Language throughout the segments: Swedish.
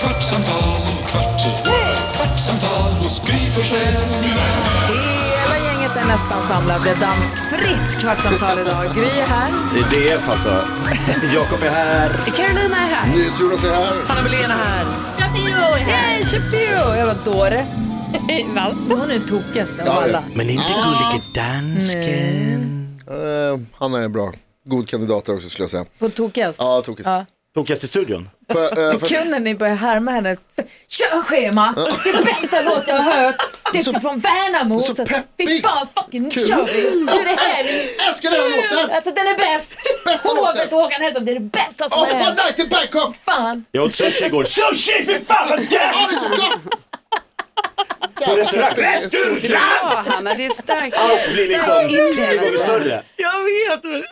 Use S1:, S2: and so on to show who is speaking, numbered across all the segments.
S1: kvartsamtal, kvart, what? kvartsamtal hos Gry Forssell med vänner.
S2: Hela gänget är nästan samlad. Det är danskfritt kvartsamtal idag. Gry är här.
S3: Det är DF alltså. Jakob är här.
S2: Carolina är här. NyhetsJonas är här. Hanna Belén är här. Shapiro är här. Yay, Shapiro! Jag var dåre. Hon är den tokigaste av alla.
S3: Men inte gullige dansken.
S4: Eh, han är en bra. God kandidat där också skulle jag säga.
S2: Hon tokigast.
S4: Ja, tokigt.
S2: Ja.
S3: Tokigast i studion.
S4: För, eh, för,
S2: Kunde ni börja härma henne? Kör schema! Det är bästa låt jag har hört. Det är från Värnamo.
S4: så peppig.
S2: Fy fan, fucking nu
S4: Kul.
S2: kör vi! Nu är det helg!
S4: älskar den här låten!
S2: Alltså den är bäst!
S4: Bästa
S2: Hovet
S4: låten!
S2: och Håkan Hellström, det är det bästa som har
S4: Oh, one
S2: hänt.
S4: night in Bangkok!
S2: Fan!
S3: Jag åt sushi igår. Sushi! Fy fan
S4: Ja,
S3: vad gött!
S4: det är så gott!
S3: På restaurang.
S4: Det är så gott.
S5: Ja, Hanna, det är starkt.
S3: Allt blir liksom tio gånger större.
S5: Jag vet. Men...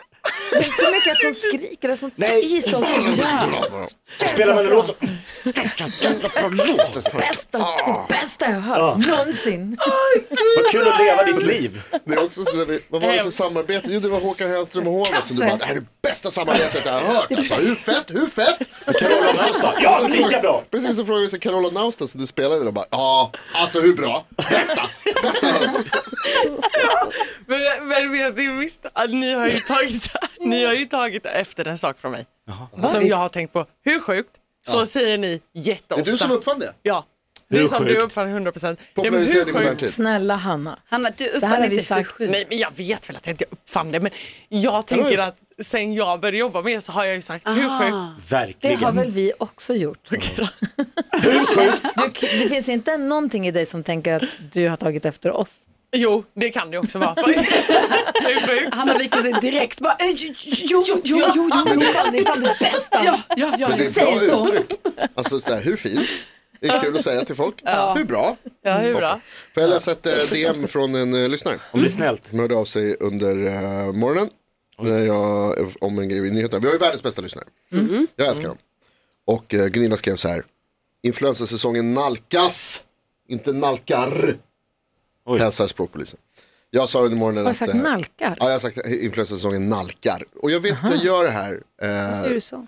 S2: Det är inte så mycket att hon skriker, att hon tar
S3: Nej.
S2: i sånt.
S3: Spelar man en låt så...
S2: bästa,
S4: Ah.
S2: det bästa jag har
S3: Ah.
S2: hört någonsin.
S3: Vad kul att leva ditt liv.
S4: Det är också så när vi, vad var det för samarbete? Jo, det var Håkan Hellström och Hovet som du bara, det här är det bästa samarbetet jag har hört. Alltså, hur fett, hur fett?
S3: Carola Naustad. Ja, lika bra!
S4: Precis som frågade vi sig Carola Nausta som du spelade, de bara, ja, alltså hur bra? Bästa, bästa jag har hört.
S5: Men, men vet ni, visst, att ni har ju tagit, ni har ju tagit efter en sak från mig. Som jag har tänkt på. Hur sjukt? Så säger ni
S4: Det
S5: jätteofta.
S4: är du som uppfann det.
S5: Ja. Det
S3: Hur
S5: är som
S3: sjukt?
S5: du uppfann 100 procent.
S4: Populariserade i modern tid.
S2: Snälla Hanna.
S5: Hanna, du
S2: Det här
S5: uppfann
S2: har vi
S5: inte
S2: sagt.
S5: hur- Nej, men jag vet väl att jag inte uppfann det. Men jag tänker att sen jag började jobba med det så har jag ju sagt hur sjukt.
S2: Det har
S3: Verkligen.
S2: väl vi också gjort. Du, det finns inte någonting i dig som tänker att du har tagit efter oss.
S5: Jo, det kan det också vara. hur sjukt?
S6: Hanna viker sig direkt. Bara, "Eh, jo, jo, jo, jo, jo, jo.
S2: Det är fan det bästa.
S6: Ja, ja, ja.
S4: Men det
S2: Säg
S4: är
S2: så.
S4: bra uttryck. Alltså så här, hur fin? Det är kul att säga till folk. Hur bra?
S5: Ja, hur bra?
S4: Får jag läsa ett eh, DM från en eh, lyssnare
S3: Om det är snällt.
S4: som hörde av sig under eh, morgonen när jag, eh, om en grej i nyheterna. Vi har ju världens bästa lyssnare.
S2: Mm-hmm.
S4: Jag älskar dem. Och eh, Gunilla skrev så här. Influensasäsongen nalkas, inte nalkar.
S3: Oj.
S4: Hälsar språkpolisen. Jag sa under morgonen
S2: Har du sagt
S4: eh,
S2: nalkar?
S4: Ja, jag har sagt att influensasäsongen nalkar. Och jag vet att jag gör det här. Eh,
S6: Är du så?
S4: alltså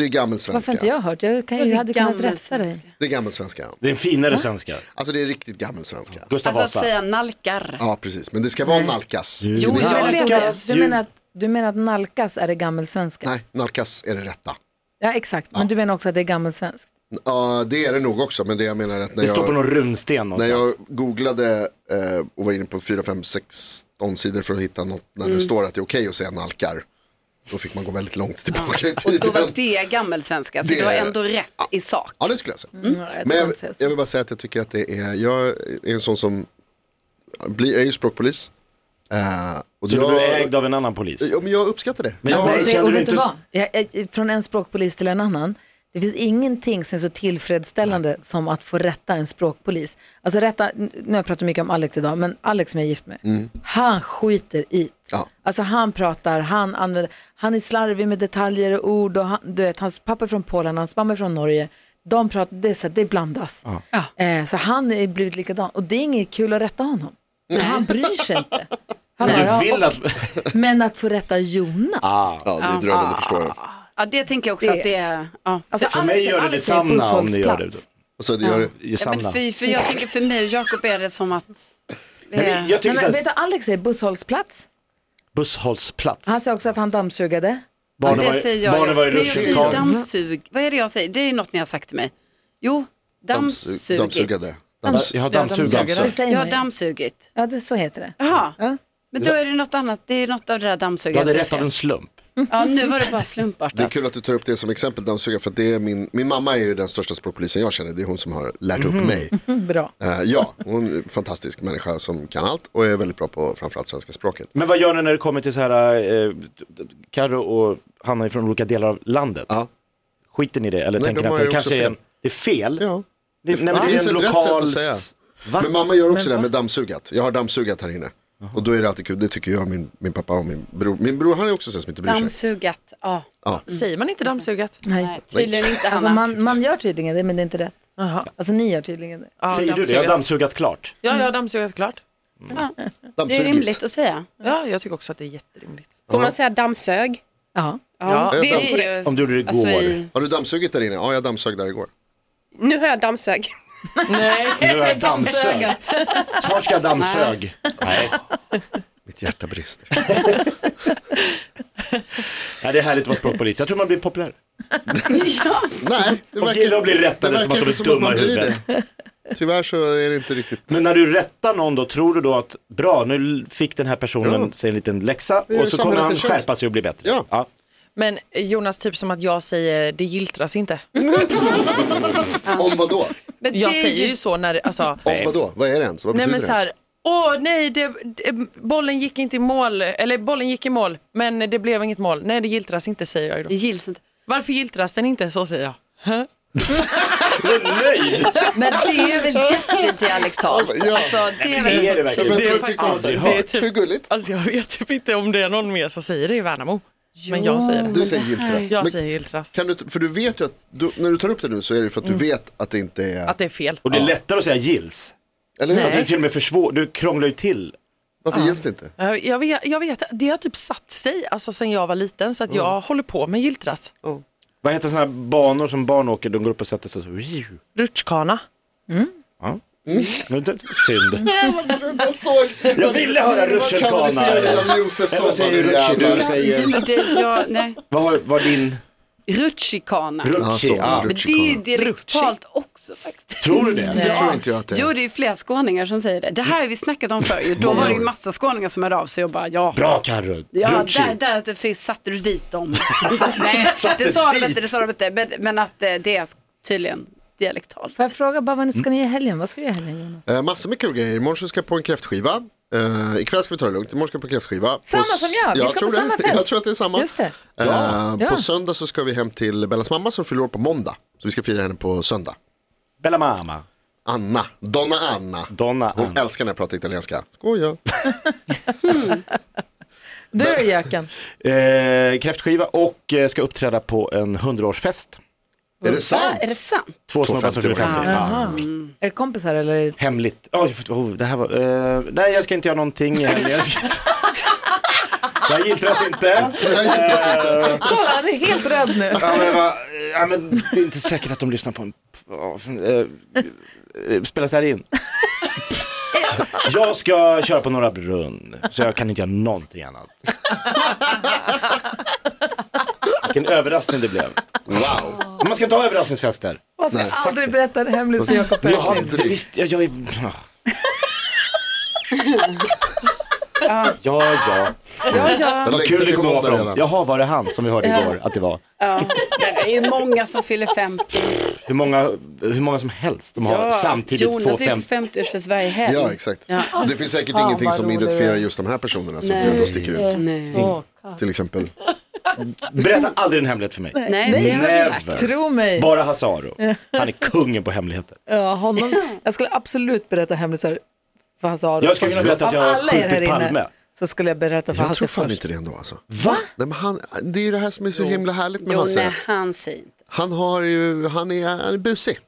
S4: det är gammelsvenska.
S2: Varför har inte jag hört? Jag, kan, ju- jag hade kunnat rätta dig.
S4: Det är gammelsvenska.
S3: Det är en finare svenska.
S4: Alltså det är riktigt gammelsvenska.
S3: Gustav
S5: Alltså att
S3: Vasa.
S5: säga nalkar.
S4: Ja, precis. Men det ska vara nalkas.
S3: Jo,
S2: Jag vet det.
S3: Nalkas
S2: Du
S3: ju.
S2: menar att, du menar att nalkas är det gammelsvenska?
S4: Nej, nalkas är det rätta.
S2: Ja, exakt. Men du menar också att det är gammelsvenskt?
S4: Ja, det är det nog också, men det jag menar är att när,
S3: Det står på
S4: jag,
S3: någon runsten
S4: när
S3: någonstans.
S4: jag googlade eh, och var inne på 4, 5, 16 sidor för att hitta något när
S5: Mm.
S4: det står att det är okej att säga nalkar, då fick man gå väldigt långt tillbaka i
S5: Då var
S4: tiden.
S5: det gammelsvenska, så
S4: Det-
S5: du har ändå rätt i sak.
S4: Ja, det skulle jag säga.
S5: Mm.
S4: Mm.
S2: jag
S4: Men
S2: tror
S4: jag,
S2: inte det är så.
S4: jag vill bara säga att jag tycker att det är, jag är en sån som, blir, jag är ju språkpolis. Eh, och
S3: Så du
S4: jag,
S3: blev ägd av en annan polis.
S4: Ja, men jag uppskattar det.
S3: Men jag-
S4: jag,
S3: Nej,
S2: Alltså, det,
S3: kände
S2: och
S3: du
S2: vet du
S3: inte-
S2: vad? Jag, jag, från en språkpolis till en annan. Det finns ingenting som är så tillfredsställande som att få rätta en språkpolis. Alltså rätta, nu har jag pratat mycket om Alex idag, men Alex som jag är gift med,
S3: Mm.
S2: han skiter i
S4: Ja.
S2: Alltså han pratar, han, använder, han är slarvig med detaljer och ord. Och han, du vet, hans pappa är från Polen, hans mamma är från Norge. De pratar, det, är så här, det blandas. Eh, så han är blivit likadan. Och det är inget kul att rätta honom. Han bryr sig inte. Han bara,
S3: Men du
S2: ja,
S3: vill Ah. att...
S2: men att få rätta Jonas.
S4: ja, det är drömmen, det förstår jag.
S5: Ja, det tänker jag också
S2: Det-
S5: att det är. Ja.
S2: Alltså,
S3: För mig gör det
S2: Alex är
S3: detsamma om ni gör det.
S2: busshållsplats.
S4: Alltså, det gör,
S5: Ja,
S3: Samla.
S5: men för, för jag tänker för mig och Jakob är det som att det
S3: Nej,
S5: är...
S3: men Jag tycker
S2: Nej, men, vet
S3: såhär,
S2: du, Alex är busshållplats.
S3: busshållsplats.
S2: Han säger också att han dammsugade.
S3: Barnen var,
S5: det säger jag
S3: i- barnen var i
S5: Men jag säger
S3: rutschkanan.
S5: dammsug. Vad är det jag säger? Det är något ni har sagt till mig. Jo,
S4: dammsugit.
S5: dammsugit.
S4: Dammsugade.
S2: Damms-
S7: Jag har dammsugare.
S2: Det säger
S5: Jag
S2: man
S5: har
S2: ju.
S5: dammsugit.
S2: Ja, det, så heter det.
S5: Jaha.
S2: Ja.
S5: Men då är det något annat. Det är något av det där
S7: Du
S5: dammsuget.
S7: hade
S5: jag
S7: rätt av
S5: säger.
S7: en slump.
S5: Ja, nu var det bara slumpartat.
S4: Det är kul att du tar upp det som exempel, dammsugare, för att det är min, min mamma är ju den största språkpolisen jag känner, det är hon som har lärt
S3: Mhm.
S4: upp mig.
S2: Mm, Bra.
S4: Eh, ja, hon är en fantastisk människa som kan allt och är väldigt bra på framförallt svenska språket.
S3: Men vad gör ni när det kommer till så här, eh, Karo och Hanna är från olika delar av landet?
S4: Ja.
S3: Skiter ni i det eller
S4: Nej,
S3: tänker
S4: de
S3: ni
S4: har
S3: att det
S4: ju också
S3: kanske är, en,
S4: fel.
S3: det är fel?
S4: Ja.
S3: Det, nej, men det,
S4: finns
S3: är en
S4: ett rätt sätt att
S3: lokal...
S4: säga.
S3: s- Va?
S4: Men mamma gör också det här med dammsugat. Jag har dammsugat här inne. Och då är det alltid kul, det tycker jag, min, min pappa och min bror. Min bror han är också sån som inte bryr sig.
S6: Dammsugat. Ja.
S5: Säger man inte dammsugat?
S2: Nej.
S6: Nej, tydligen inte
S2: Alltså
S6: Hanna.
S2: man, man gör tydligen det, men det är inte rätt.
S5: Jaha.
S2: Alltså ni gör tydligen det.
S5: Ja,
S3: Säger du det? Jag har dammsugat klart.
S5: Ja, jag har dammsugat klart.
S6: Det är
S4: Dammsugit.
S6: rimligt att säga.
S5: Ja, jag tycker också att det är jätterimligt.
S8: Får man säga dammsög?
S2: Ja.
S8: Ja,
S4: Ja,
S8: det
S4: damm-
S8: är ju...
S3: Om du gjorde det igår.
S8: Alltså, i...
S4: Har du dammsugit där inne? Ja, jag dammsög där igår.
S8: Nu har jag dammsög.
S3: Nu har jag dammsög. Snart ska jag dammsög. Nej.
S4: Mitt hjärta brister.
S3: Nej, det är härligt att vara språkpolis. Jag tror man blir populär.
S4: Nej, det
S3: Folk gillar att bli rättade
S4: det
S3: som att
S4: verkar
S3: de är
S4: inte som att
S3: dumma
S4: man
S3: i
S4: blir
S3: huvudet.
S4: det. Tyvärr så är det inte riktigt.
S3: Men när du rättar någon då, tror du då att bra, nu fick den här personen
S4: Ja.
S3: sig en liten läxa
S4: Det är
S3: och så kommer
S4: samhället
S3: han
S4: en tjänst.
S3: skärpa sig och bli bättre?
S4: Ja.
S5: Men Jonas, typ som att jag säger det giltras inte.
S4: Om vad då?
S6: Mm. Men det
S5: Jag
S6: är
S5: säger
S6: ju
S5: ju så när, det- alltså,
S4: Om vad då? Vad är det ens? Vad
S5: nej
S4: betyder
S5: men
S4: det
S5: så här,
S4: ens?
S5: åh nej, det, det, bollen gick inte i mål, eller bollen gick i mål, men det blev inget mål. Nej, det giltras inte säger jag ju
S6: Det
S5: då.
S6: gills inte.
S5: Varför giltras den inte? Så säger jag.
S3: Nöjd!
S6: Men det är väl jättedialektalt.
S4: Ja.
S6: Alltså, det är
S3: det är det
S6: väl så
S3: verkligen.
S4: Jag
S5: Det är
S4: vet inte vad
S5: faktiskt-
S4: jag tycker
S5: det
S4: om
S5: är
S4: det.
S5: typ-
S4: Hur gulligt?
S5: Alltså jag vet typ inte om det är någon mer som säger det i Värnamo. Men jag säger det.
S4: Du säger giltras.
S5: Mm. Jag
S4: Men
S5: säger giltras.
S4: Kan du, för du vet ju att, du, när du tar upp det nu så är det för att du vet att det inte är,
S5: Mm. Att det är fel.
S3: Och det är lättare att säga gills.
S4: eller hur?
S5: Nej.
S3: Alltså, det är till och med försvår, du krånglar ju till.
S4: Varför gills det inte?
S5: Jag eh, jag vet, jag vet, det har typ satt sig alltså, sen jag var liten så att jag håller på med giltras.
S3: Vad heter sådana här banor som barn åker, de går upp och sätter sig så. Riu.
S5: Rutschkana.
S3: Men det, synd.
S4: Nej, vad trodde jag såg.
S3: Jag ville höra
S4: Kan du
S3: rutschkana.
S4: se det av Josefsson?
S3: Vad säger
S4: Vad
S3: Rutschi?
S4: jävlar.
S3: Du säger,
S6: Det, jag, nej.
S3: vad har- vad din
S6: Rutschikana.
S4: Ja,
S3: rutschi?
S4: så,
S3: Ah,
S6: Men det är ju
S4: rutschkana.
S6: dialektalt också faktiskt.
S3: tror du det?
S4: Det tror inte jag att det
S6: Jo,
S4: är.
S6: det är ju flera skåningar som säger det. Det här har vi snackat om förr ju. Då var det ju massa skåningar som hörde av sig och bara ja.
S3: Bra Carro,
S6: Ja,
S3: rutschi.
S6: där, där det finns- satte du dit dem. Nej, det sa de inte, det sa de inte. Men, men att eh, det är tydligen dialektalt.
S2: Får jag fråga bara vad ni
S3: Mm.
S2: ska ni göra i helgen? Vad ska du göra i helgen Jonas?
S4: Eh, massor med kul grejer. Imorgon så ska jag på en kräftskiva. Eh, ikväll ska vi ta det lugnt. Imorgon ska jag på en kräftskiva.
S2: Samma
S4: Och s-
S2: som jag. Vi ska
S4: tror
S2: på
S4: det.
S2: samma fest.
S4: Jag tror att det är samma.
S2: Just det.
S4: Eh,
S2: Ja.
S4: På söndag så ska vi hem till Bellas mamma som fyller år på måndag. Så vi ska fira henne på söndag.
S3: Bella mamma.
S4: Anna, Donna Anna.
S3: Donna
S4: Hon
S3: Anna.
S4: älskar när jag pratar italienska. Skoja.
S2: Du då Jöken?
S3: Eh, kräftskiva och eh, ska uppträda på en 100-årsfest.
S4: är det
S6: Va?
S4: sant?
S6: Är det sant?
S3: Två snubbar som fyller 50. Ja.
S2: Är det kompisar eller? är det-
S3: Hemligt. Oj, för- oh, det här var, eh, nej, jag ska inte göra någonting. i helgen. Jag, ska... jag giltras inte.
S4: Jag giltras inte.
S3: Ah.
S2: Kolla, han är helt röd nu.
S3: Ja, men, va, ja, men, det är inte säkert att de lyssnar på en... ja, eh, eh, Spelas det här in? Jag ska köra på Norra Brunn, så jag kan inte göra någonting annat. Vilken överraskning det blev.
S4: Wow.
S3: Men Man ska inte ha överraskningsfester.
S2: Man ska
S4: Nej.
S2: aldrig berätta det hemligt för Jakob
S3: Jag har
S2: Öqvist.
S3: inte,
S4: Alltså,
S3: visst, jag, jag är... Ja, ja.
S6: Ja, ja.
S4: Jag
S3: Vad kul det kommer vara för dem.
S4: typ redan.
S3: Jaha, var det han som vi hörde igår att det var?
S6: Men Det är ju många som fyller 50.
S3: Hur många, hur många som helst de har samtidigt
S6: Jonas är på
S3: 250.
S6: 50-årsfest varje helg.
S4: Ja, exakt. Det finns säkert ingenting
S2: vad
S4: som
S2: rolig du
S4: identifierar
S2: är.
S4: just de här personerna som
S6: Nej.
S4: ändå sticker ut.
S6: Nej.
S4: Till exempel.
S3: Berätta aldrig en hemlighet för mig.
S6: Nej, det har vi lagt.
S3: Never.
S2: Tro mig.
S3: Bara Hasaro. Han är kungen på hemligheter.
S2: Ja, honom. Jag skulle absolut berätta hemlisar för Hasse Aro.
S3: Jag skulle kunna berätta att jag
S2: Av
S3: har
S2: alla er här
S3: skjutit
S2: inne
S3: Palme.
S2: Så skulle jag berätta för
S4: Jag
S2: Hasse
S4: tror fan
S2: först.
S4: inte det ändå alltså.
S3: Va?
S4: Nej, men han, det är ju det här som är så himla härligt med
S6: Jo, nej,
S4: Hasse.
S6: han säger inte.
S4: Han, har ju, han, är, han är busig.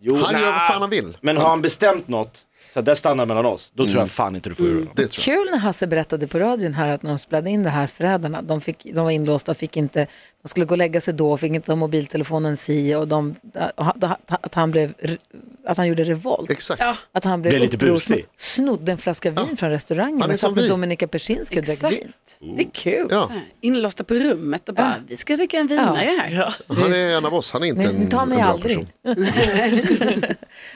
S3: Jo,
S4: Han gör vad
S3: nja.
S4: fan han vill. Mm.
S3: Men har han bestämt något, så att det stannar mellan oss, då tror jag fan inte du får ur honom.
S4: Det tror jag.
S2: Kul när Hasse berättade på radion här att när de spelade in det här, förrädarna, de, fick, de var inlåsta och fick inte, de skulle gå och lägga sig då och fick inte ha mobiltelefonen si och de, att att han blev, att han gjorde revolt.
S4: Exakt.
S2: Att han blev
S3: Blev lite
S2: upprors-
S3: busig.
S2: Snodde en flaska vin från restaurangen
S4: Han är
S2: och satt
S4: som
S2: med
S4: vi.
S2: Dominika Persinska och drack
S6: Exakt.
S2: vin. Det är kul.
S4: Ja,
S6: Inlåsta på rummet och bara, vi ska dricka en vinare här.
S4: han är en av oss. Han är inte
S2: Ni,
S4: en,
S2: ni tar
S4: en
S2: mig
S4: bra person.
S2: aldrig.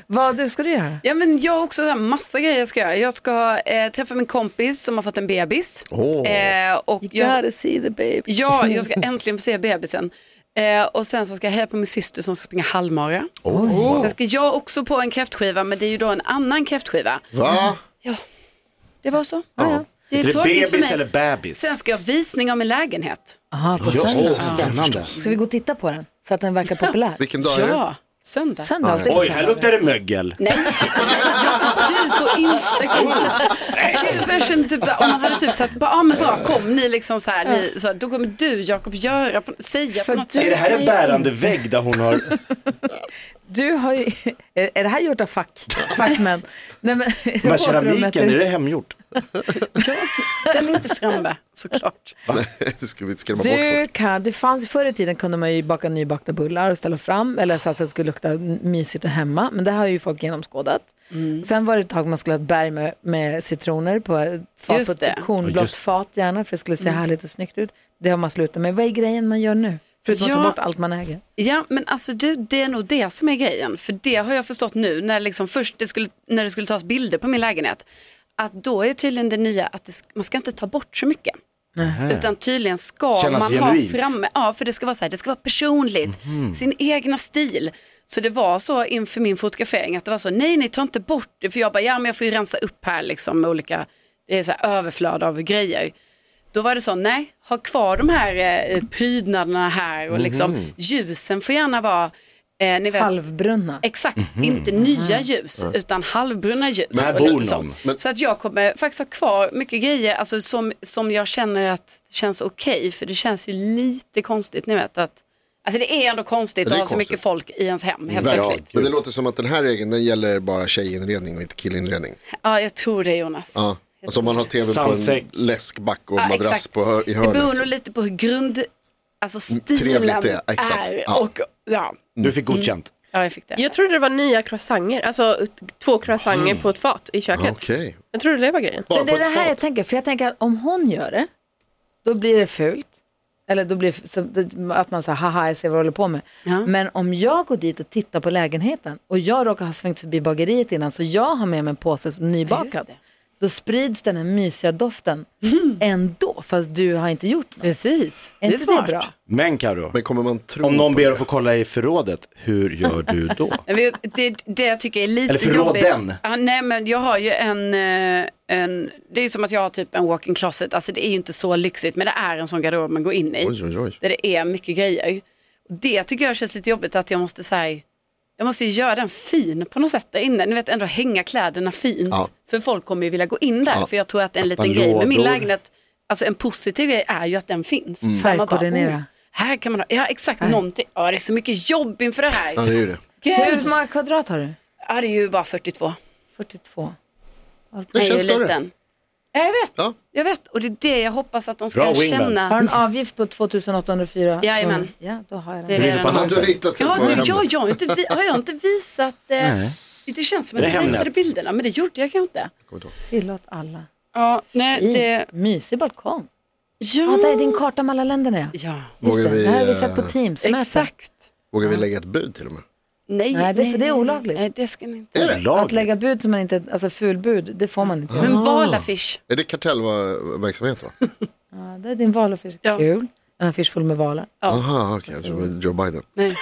S2: Vad du ska du göra?
S6: Ja, men jag har också så här massa grejer jag ska göra. Jag ska eh, träffa min kompis som har fått en bebis.
S4: Åh.
S6: Eh, och jag,
S2: see the baby.
S6: ja, jag ska äntligen få se bebisen. Eh, och sen så ska jag heja på min syster som ska springa halvmara. Sen ska jag också på en kräftskiva, men det är ju då en annan kräftskiva.
S2: Mm.
S4: Va?
S6: Det var så.
S4: Ja.
S6: Det är
S3: Är det
S6: tråkigt för
S3: bebis
S6: mig.
S3: eller bebis?
S6: Sen ska jag ha visning av min lägenhet.
S2: Aha, på
S4: Ja,
S2: söndag.
S4: spännande.
S2: Ska vi gå och titta på den så att den verkar populär?
S4: Vilken dag är det?
S6: Ja, Söndag.
S2: Söndag.
S3: Oj, här luktar det mögel.
S6: Nej, Jakob, du får inte komma. Gud, jag känner typ såhär, om man hade typ sagt, ja ah, men bra kom ni liksom så här, ni, så, då kommer du Jakob göra, på, säga
S2: För
S6: på något
S2: du-
S6: sätt.
S3: Är det här en bärande vägg där hon har...
S2: Du har ju, är, är det här gjort av fack, fackmän? Nej, men,
S3: Den här keramiken, är det hemgjort?
S6: Den är inte framme såklart.
S4: det ska vi inte skrämma bort folk.
S2: Du kan, det fanns, förr i tiden kunde man ju baka nybakta bullar och ställa fram eller så att det skulle lukta mysigt hemma, men det har ju folk genomskådat.
S6: Mm.
S2: Sen var det ett tag man skulle ha ett berg med, med citroner på ett fat,
S6: Just
S2: på ett
S6: det. Mm.
S3: Ja,
S2: kornblått
S3: just det.
S2: fat gärna för det skulle se härligt och snyggt ut. Det har man slutat med. Vad är grejen man gör nu? Förutom att ta
S6: Ja.
S2: bort allt man äger.
S6: Ja, men alltså du, det är nog det som är grejen. För det har jag förstått nu, när, liksom först det skulle, när det skulle tas bilder på min lägenhet, att då är tydligen det nya att det, sk- man ska inte ta bort så mycket. Utan tydligen ska
S3: Kännas
S6: man
S3: genuint. Mhm.
S6: ha framme, ja för det ska vara så här, det ska vara personligt, sin egna stil. Så det var så inför min fotografering att det var så, nej nej ta inte bort det, för jag bara, ja men jag får ju rensa upp här liksom med olika, det är så här överflöd av grejer. Då var det så, nej, ha kvar de här eh, prydnaderna här och liksom
S4: Mhm.
S6: ljusen får gärna vara, eh, ni vet,
S2: Halvbrunna.
S6: Exakt, inte nya ljus utan halvbrunna ljus.
S3: Men här
S6: och
S3: bor
S6: lite
S3: någon.
S6: sånt.
S4: Mhm. Men-
S6: Så att jag kommer faktiskt ha kvar mycket grejer alltså, som, som jag känner att det känns okej för det känns ju lite konstigt ni vet att Alltså det är ändå konstigt
S4: Det är
S6: att ha så
S4: konstigt.
S6: mycket folk i ens hem helt
S4: Verkligen.
S6: plötsligt.
S4: Men det låter som att den här regeln den gäller bara tjejinredning och inte killinredning.
S6: Ja, jag tror det Jonas.
S4: Ja. Alltså om man har tv på
S3: Sandsäck.
S4: en läskback och en
S6: Ja,
S4: madrass
S6: exakt.
S4: på hör- i
S6: Det beror nog
S4: hörnet. Mm,
S6: lite på hur grund, alltså stilen
S4: trevligt det är, exakt.
S6: är.
S4: Ja.
S6: Och, ja.
S3: Du fick godkänt.
S6: ja, jag fick det.
S8: Jag trodde det var nya croissanger, alltså t- två croissanger på ett fat i köket.
S4: Okej,
S8: Jag trodde det var grejen.
S4: bara
S2: det
S4: på
S2: är det
S4: ett
S2: här jag
S4: fat.
S2: tänker, för jag tänker att om hon gör det, då blir det fult. Eller då blir det så- att man säger haha jag ser vad du håller på med.
S6: Ja.
S2: Men om jag går dit och tittar på lägenheten och jag råkar ha svängt förbi bageriet innan så jag har med mig en påse som
S6: Ja, just
S2: nybakat.
S6: det.
S2: då sprids den här mysiga doften ändå fast du har inte gjort något.
S6: Precis,
S2: Är
S6: det är
S2: inte det
S6: smart.
S2: bra?
S3: Mm. Men Karo,
S4: Men kommer man tro
S3: om någon
S4: på
S3: ber
S4: det?
S3: att få kolla i förrådet, hur gör du då?
S6: Nej, men jag- Det, det jag tycker är lite
S3: Eller förråd
S6: jobbigt.
S3: den.
S6: Ja, nej men jag har ju en, eh, en, det är ju som att jag har typ en walk-in closet, alltså det är ju inte så lyxigt men det är en sån garderob man går in i
S4: Oj, oj, oj.
S6: där det är mycket grejer. Och Det tycker jag känns lite jobbigt att jag måste säga jag måste ju göra den fin på något sätt där inne. Ni vet ändå hänga kläderna fint.
S4: Ja.
S6: För folk kommer ju vilja gå in där.
S4: Ja.
S6: För jag tror att en liten
S3: man
S6: grej med min
S3: lådor.
S6: lägenhet, alltså en positiv grej är ju att den finns. Mm.
S2: Färgkoordinera.
S6: här kan man ha, ja exakt någonting. Ja det är så mycket jobb inför det här.
S4: Ja, det är ju det.
S2: Hur många kvadrat har du?
S6: Ja, det är ju bara 42.
S2: 42.
S4: Det
S6: Nej,
S4: känns
S6: jag är
S4: större.
S6: liten. Ja, jag vet,
S4: Ja.
S6: jag vet. Och det är det jag hoppas att de ska
S3: Bra wingman.
S2: Har
S6: känna.
S2: du en avgift på 2804
S6: Jajamän.
S2: kronor? Ja, då har jag
S6: Det
S2: den.
S6: är
S3: Ringer på
S6: redan...
S4: Har
S3: Hansen.
S4: du hittat det
S6: Ja,
S4: på
S6: du,
S4: hemmet?
S6: ja, jag har, inte vi... har jag inte visat... Eh... Det känns som att
S3: Det är
S6: jag
S3: Hemnet.
S6: visade bilderna, men det gjorde jag kanske inte. Mm.
S2: Tillåt alla.
S6: Ja, nej,
S2: I.
S6: det...
S2: Mysig balkong. Ja,
S6: Ja,
S2: där är din karta med alla länderna ja.
S6: ja.
S2: Just
S4: Vågar
S2: det,
S4: vi,
S2: det här har vi
S4: eh,
S2: sett på Teams.
S6: exakt.
S4: Vågar vi lägga ett bud till och med?
S6: Nej,
S2: Nej, det-
S6: nej,
S2: för det är
S6: nej,
S2: olagligt.
S6: Nej, det ska ni inte.
S4: Är det?
S2: Att lägga bud som man inte, alltså fulbud, det får man inte göra.
S4: Ah.
S6: Men valaffisch.
S4: Är det kartellverksamhet va?
S2: Ja, det är din valaffisch.
S6: Ja.
S2: Kul. En affisch full med valar.
S4: Aha, okej. Jag tror det
S6: Mm.
S4: var Joe Biden.
S6: Nej.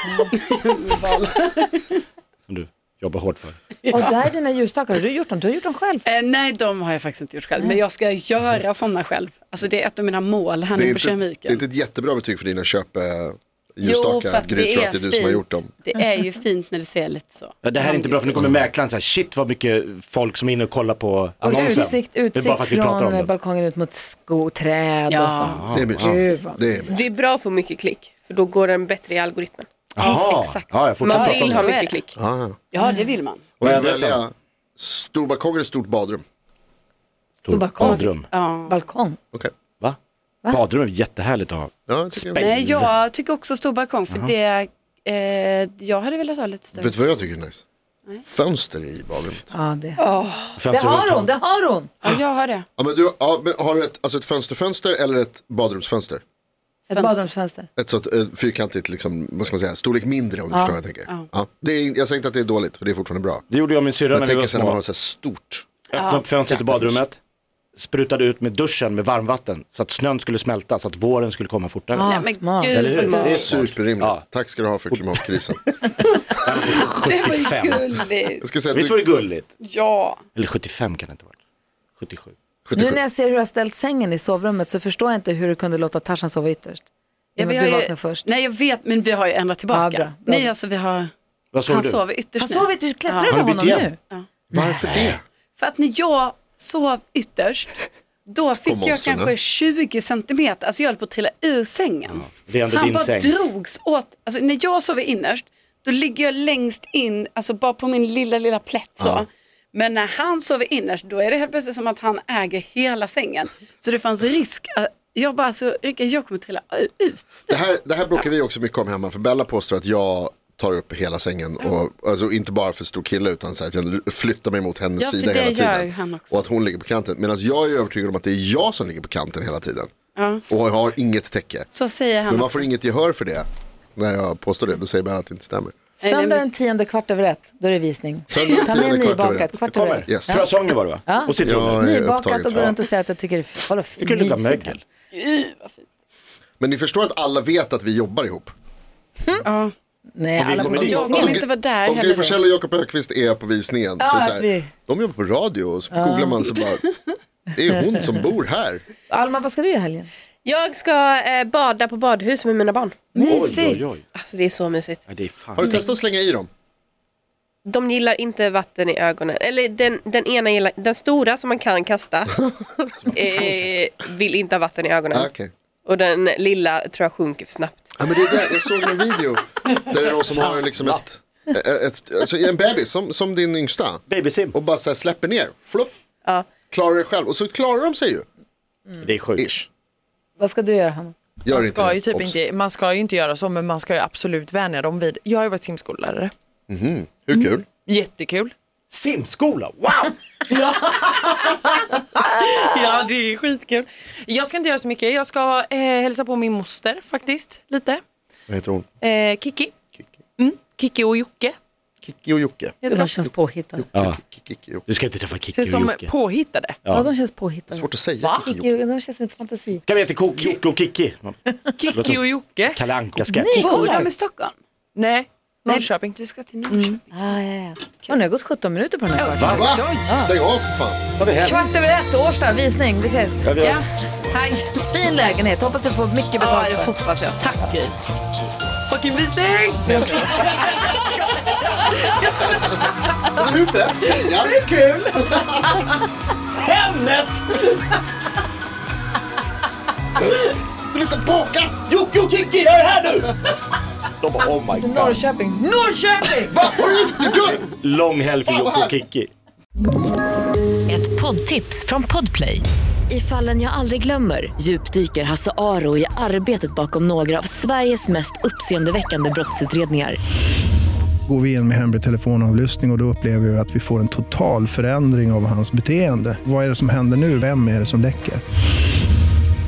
S3: Som du jobbar hårt för.
S2: Och där är dina ljusstakar. Har du gjort dem? Du har gjort dem själv.
S6: Eh, nej, de har jag faktiskt inte gjort själv, men jag ska göra sådana själv. Alltså det är ett av mina mål här
S4: Det är,
S6: nu på
S4: inte, det är
S6: keramiken.
S4: inte ett jättebra betyg för dina köp eh,
S6: Jo, för
S4: ljusstakar.
S6: att
S4: Gry
S6: det
S4: tror
S6: är
S4: att det är du som har gjort dem.
S6: fint. Det är ju fint när det ser lite så.
S3: Ja, det här är inte bra för nu kommer mäklaren så här, shit vad mycket folk som är inne och kollar på
S2: Och
S3: annonsen.
S2: utsikt,
S3: det är bara
S2: utsikt
S3: för att vi pratar om
S2: från eh,
S3: det.
S2: balkongen ut mot skog, träd och
S6: Ja.
S2: sånt.
S4: Det är
S2: Gud,
S4: mysigt.
S2: vad
S4: Det är mysigt.
S8: Det är bra att få mycket klick, för då går den bättre i algoritmen.
S3: Jaha,
S6: Exakt.
S3: ja, jag får
S8: Man
S3: prata om
S8: vill ha
S6: Så
S3: det.
S6: är det.
S8: mycket klick.
S4: Ja, ja.
S6: Ja, det vill man.
S4: Och
S3: Men
S4: jag
S3: jag vet
S4: välja stor balkong eller stort badrum?
S3: Stort
S2: balkong.
S3: badrum.
S6: Ja.
S2: Balkong.
S4: Okej.
S3: Va? Badrum är jättehärligt att ha.
S4: Ja, jag tycker-
S3: Spännande.
S6: Nej, jag tycker också stor balkong för det, eh, jag hade velat ha lite större.
S4: Vet du vad jag tycker är nice? Fönster i badrummet.
S2: Ja, det. det
S3: Fönster
S2: har
S3: runt
S2: hon, det har hon.
S6: Ja, jag har det.
S4: Ja, men du, ja, men har du ett, alltså ett fönsterfönster eller ett badrumsfönster?
S2: Ett
S6: Fönster.
S2: badrumsfönster.
S4: Ett sånt eh, fyrkantigt, liksom, vad ska man säga, storlek mindre om du förstår vad jag tänker. Ja. det är, jag säger inte att det är dåligt, för det är fortfarande bra.
S3: Det gjorde jag och min syrra
S4: Men
S3: när
S4: jag
S3: vi var
S4: tänker sen när man har
S3: små.
S4: ett så här stort.
S3: Öppnade upp fönstret i badrummet, sprutade ut med duschen med varmvatten så att snön skulle smälta så att våren skulle komma fortare.
S2: Ja,
S6: Nej, men
S2: smart.
S6: gud,
S3: Eller hur?
S6: vad
S3: Det är
S4: Superrimligt.
S3: Ja.
S4: Tack ska du ha för klimatkrisen.
S6: Det var
S3: 75.
S6: ju gulligt.
S4: Jag ska säga att
S3: Visst var
S4: du,
S3: det gulligt?
S6: Ja.
S3: Eller 75 kan det inte ha varit. 77.
S2: Nu
S4: 77,
S2: när jag ser hur du har ställt sängen i sovrummet så förstår jag inte hur du kunde låta Tarzan sova ytterst. I och med
S6: vi
S2: att
S6: har
S2: du
S6: ju-
S2: vaknade först.
S6: Nej, jag vet, men vi har ju ändrat tillbaka.
S2: Ja, bra, bra.
S6: Nej, alltså vi har
S3: Vad såg
S6: Han
S3: du?
S6: sover ytterst
S2: Han
S6: nu.
S2: sover ytterst, klättrar
S6: Ja.
S2: över
S3: Har du bytt
S2: honom
S3: igen?
S2: nu?
S4: Varför det?
S6: För att när jag sov ytterst, då fick
S4: Kom
S6: jag
S4: monstren,
S6: kanske
S4: ja.
S6: 20 centimeter, alltså jag höll på att trilla ur sängen.
S3: Det är ändå
S6: Han
S3: din
S6: bara
S3: säng.
S6: drogs åt, alltså när jag sover innerst, då ligger jag längst in, alltså bara på min lilla, lilla plätt så. Men när han sover innerst, då är det helt plötsligt som att han äger hela sängen. Så det fanns risk, att jag bara, alltså Rickard, jag kommer trilla ut.
S4: Det här, det här bråkar vi också mycket om hemma, för Bella påstår att jag tar upp hela sängen. Och, alltså inte bara för stor kille utan så att jag flyttar mig mot hennes
S6: Ja, för
S4: sida
S6: det
S4: hela
S6: gör
S4: tiden.
S6: han också.
S4: Och att hon ligger på kanten. Medan jag är övertygad om att det är jag som ligger på kanten hela tiden. Och jag har inget täcke.
S6: Så säger han
S4: Men man
S6: också.
S4: får inget gehör för det när jag påstår det. Då säger Bella att det inte stämmer.
S6: Nej, nej,
S2: Söndag
S6: men-
S2: den tionde kvart över ett, då är det visning.
S4: Söndag den
S2: Ta med
S4: tionde, kvart över ett.
S2: nybakat,
S4: Det
S2: kvart över
S3: Kommer.
S2: ett.
S4: Yes.
S3: Croissanter var det va?
S2: Ja.
S3: Och citroner.
S4: Jag är
S2: Nybakat
S4: upptagen,
S2: och gå
S4: ja.
S2: runt och säga att jag tycker det är kolla,
S3: Tycker du luktar
S2: mysigt.
S3: mögel?
S4: Men ni förstår att alla vet att vi jobbar ihop.
S2: Nej, alla
S4: Om-
S2: borde
S4: om-
S6: jag
S2: jobba.
S6: vill
S4: om-
S6: inte vara där
S4: Om Gry
S6: heller.
S4: Forssell och Jakob Ökvist är på visningen. så är det så här,
S2: att vi-
S4: De jobbar på radio och så googlar man så bara, det är hon som bor här.
S2: Alma, vad ska du göra i helgen?
S8: Jag ska eh, bada på badhus med mina barn.
S3: Oj, oj, oj.
S8: Alltså det är så mysigt.
S3: Ja, det är fan.
S4: Har du testat att slänga i dem?
S8: De gillar inte vatten i ögonen. Eller den, den ena gillar, den stora som man kan kasta eh, vill inte ha vatten i ögonen.
S4: Ah, okej.
S8: Och den lilla tror jag sjunker för snabbt.
S4: Ja, men det är där, jag såg en video där det är någon som har liksom ett, ett, ett, alltså en bebis som, som din yngsta
S3: Babysim.
S4: och bara så här släpper ner, fluff,
S8: Ja.
S4: klarar det själv och så klarar de sig ju.
S3: Det är sjukt.
S4: Ish.
S2: Vad ska du göra, Hanna?
S4: Gör
S5: Man
S4: inte
S5: ska,
S4: det.
S5: ju typ
S4: Obs.
S5: inte, man ska ju inte göra så, men man ska ju absolut vänja dem vid. Jag har ju varit simskollärare.
S4: Hur kul?
S5: Jättekul.
S3: Simskola, wow!
S5: Ja, det är skitkul. Jag ska inte göra så mycket. Jag ska eh, hälsa på min moster faktiskt, lite.
S4: Vad heter hon?
S5: Eh, Kiki. Mm. Kiki och Jocke.
S4: Kiki och Jocke.
S5: heter
S2: De
S5: de.
S2: känns påhittade.
S3: Ja.
S4: Kiki, Kiki, Jocke.
S3: Du ska inte träffa Kikki
S5: Det är
S3: och
S5: som
S3: Jocke.
S5: påhittade.
S2: Ja, de känns påhittade.
S4: Svårt att säga. Kiki, Jocke.
S2: Jocke, De känns en fantasi.
S3: Ska vi heta Kok- Jocke och Kikki?
S5: Kiki och Jocke.
S3: Kalle Anka-sketch.
S6: Ni bor de i Stockholm?
S5: Nej, Norrköping.
S6: Du ska till Norrköping.
S2: Ah, ja, ja. Ja, nu har gått 17 minuter på den här kvarten.
S4: Va? Stäng av för fan.
S2: Kvart över ett, Årsta, visning. Vi ses.
S3: vi gör.
S2: Ja. Hej. Fin lägenhet. Hoppas du får mycket betalt för.
S6: hoppas jag. Tack Gry.
S5: Fucking visning!
S4: Alltså hur fett? Ja.
S3: Hemnet!
S4: Du luktar bakat!
S3: Jocke och Kikki, jag är här nu! De bara oh my god.
S2: Norrköping. Norrköping!
S4: Va? Har du inte dött?
S3: Lång helg för
S4: Fan, vad
S3: Jocke
S4: här-
S3: och Kikki.
S9: Ett poddtips från Podplay. I fallen jag aldrig glömmer djupdyker Hasse Aro i arbetet bakom några av Sveriges mest uppseendeväckande brottsutredningar.
S10: Går vi in med hemlig telefonavlyssning och, och då upplever vi att vi får en total förändring av hans beteende. Vad är det som händer nu? Vem är det som läcker?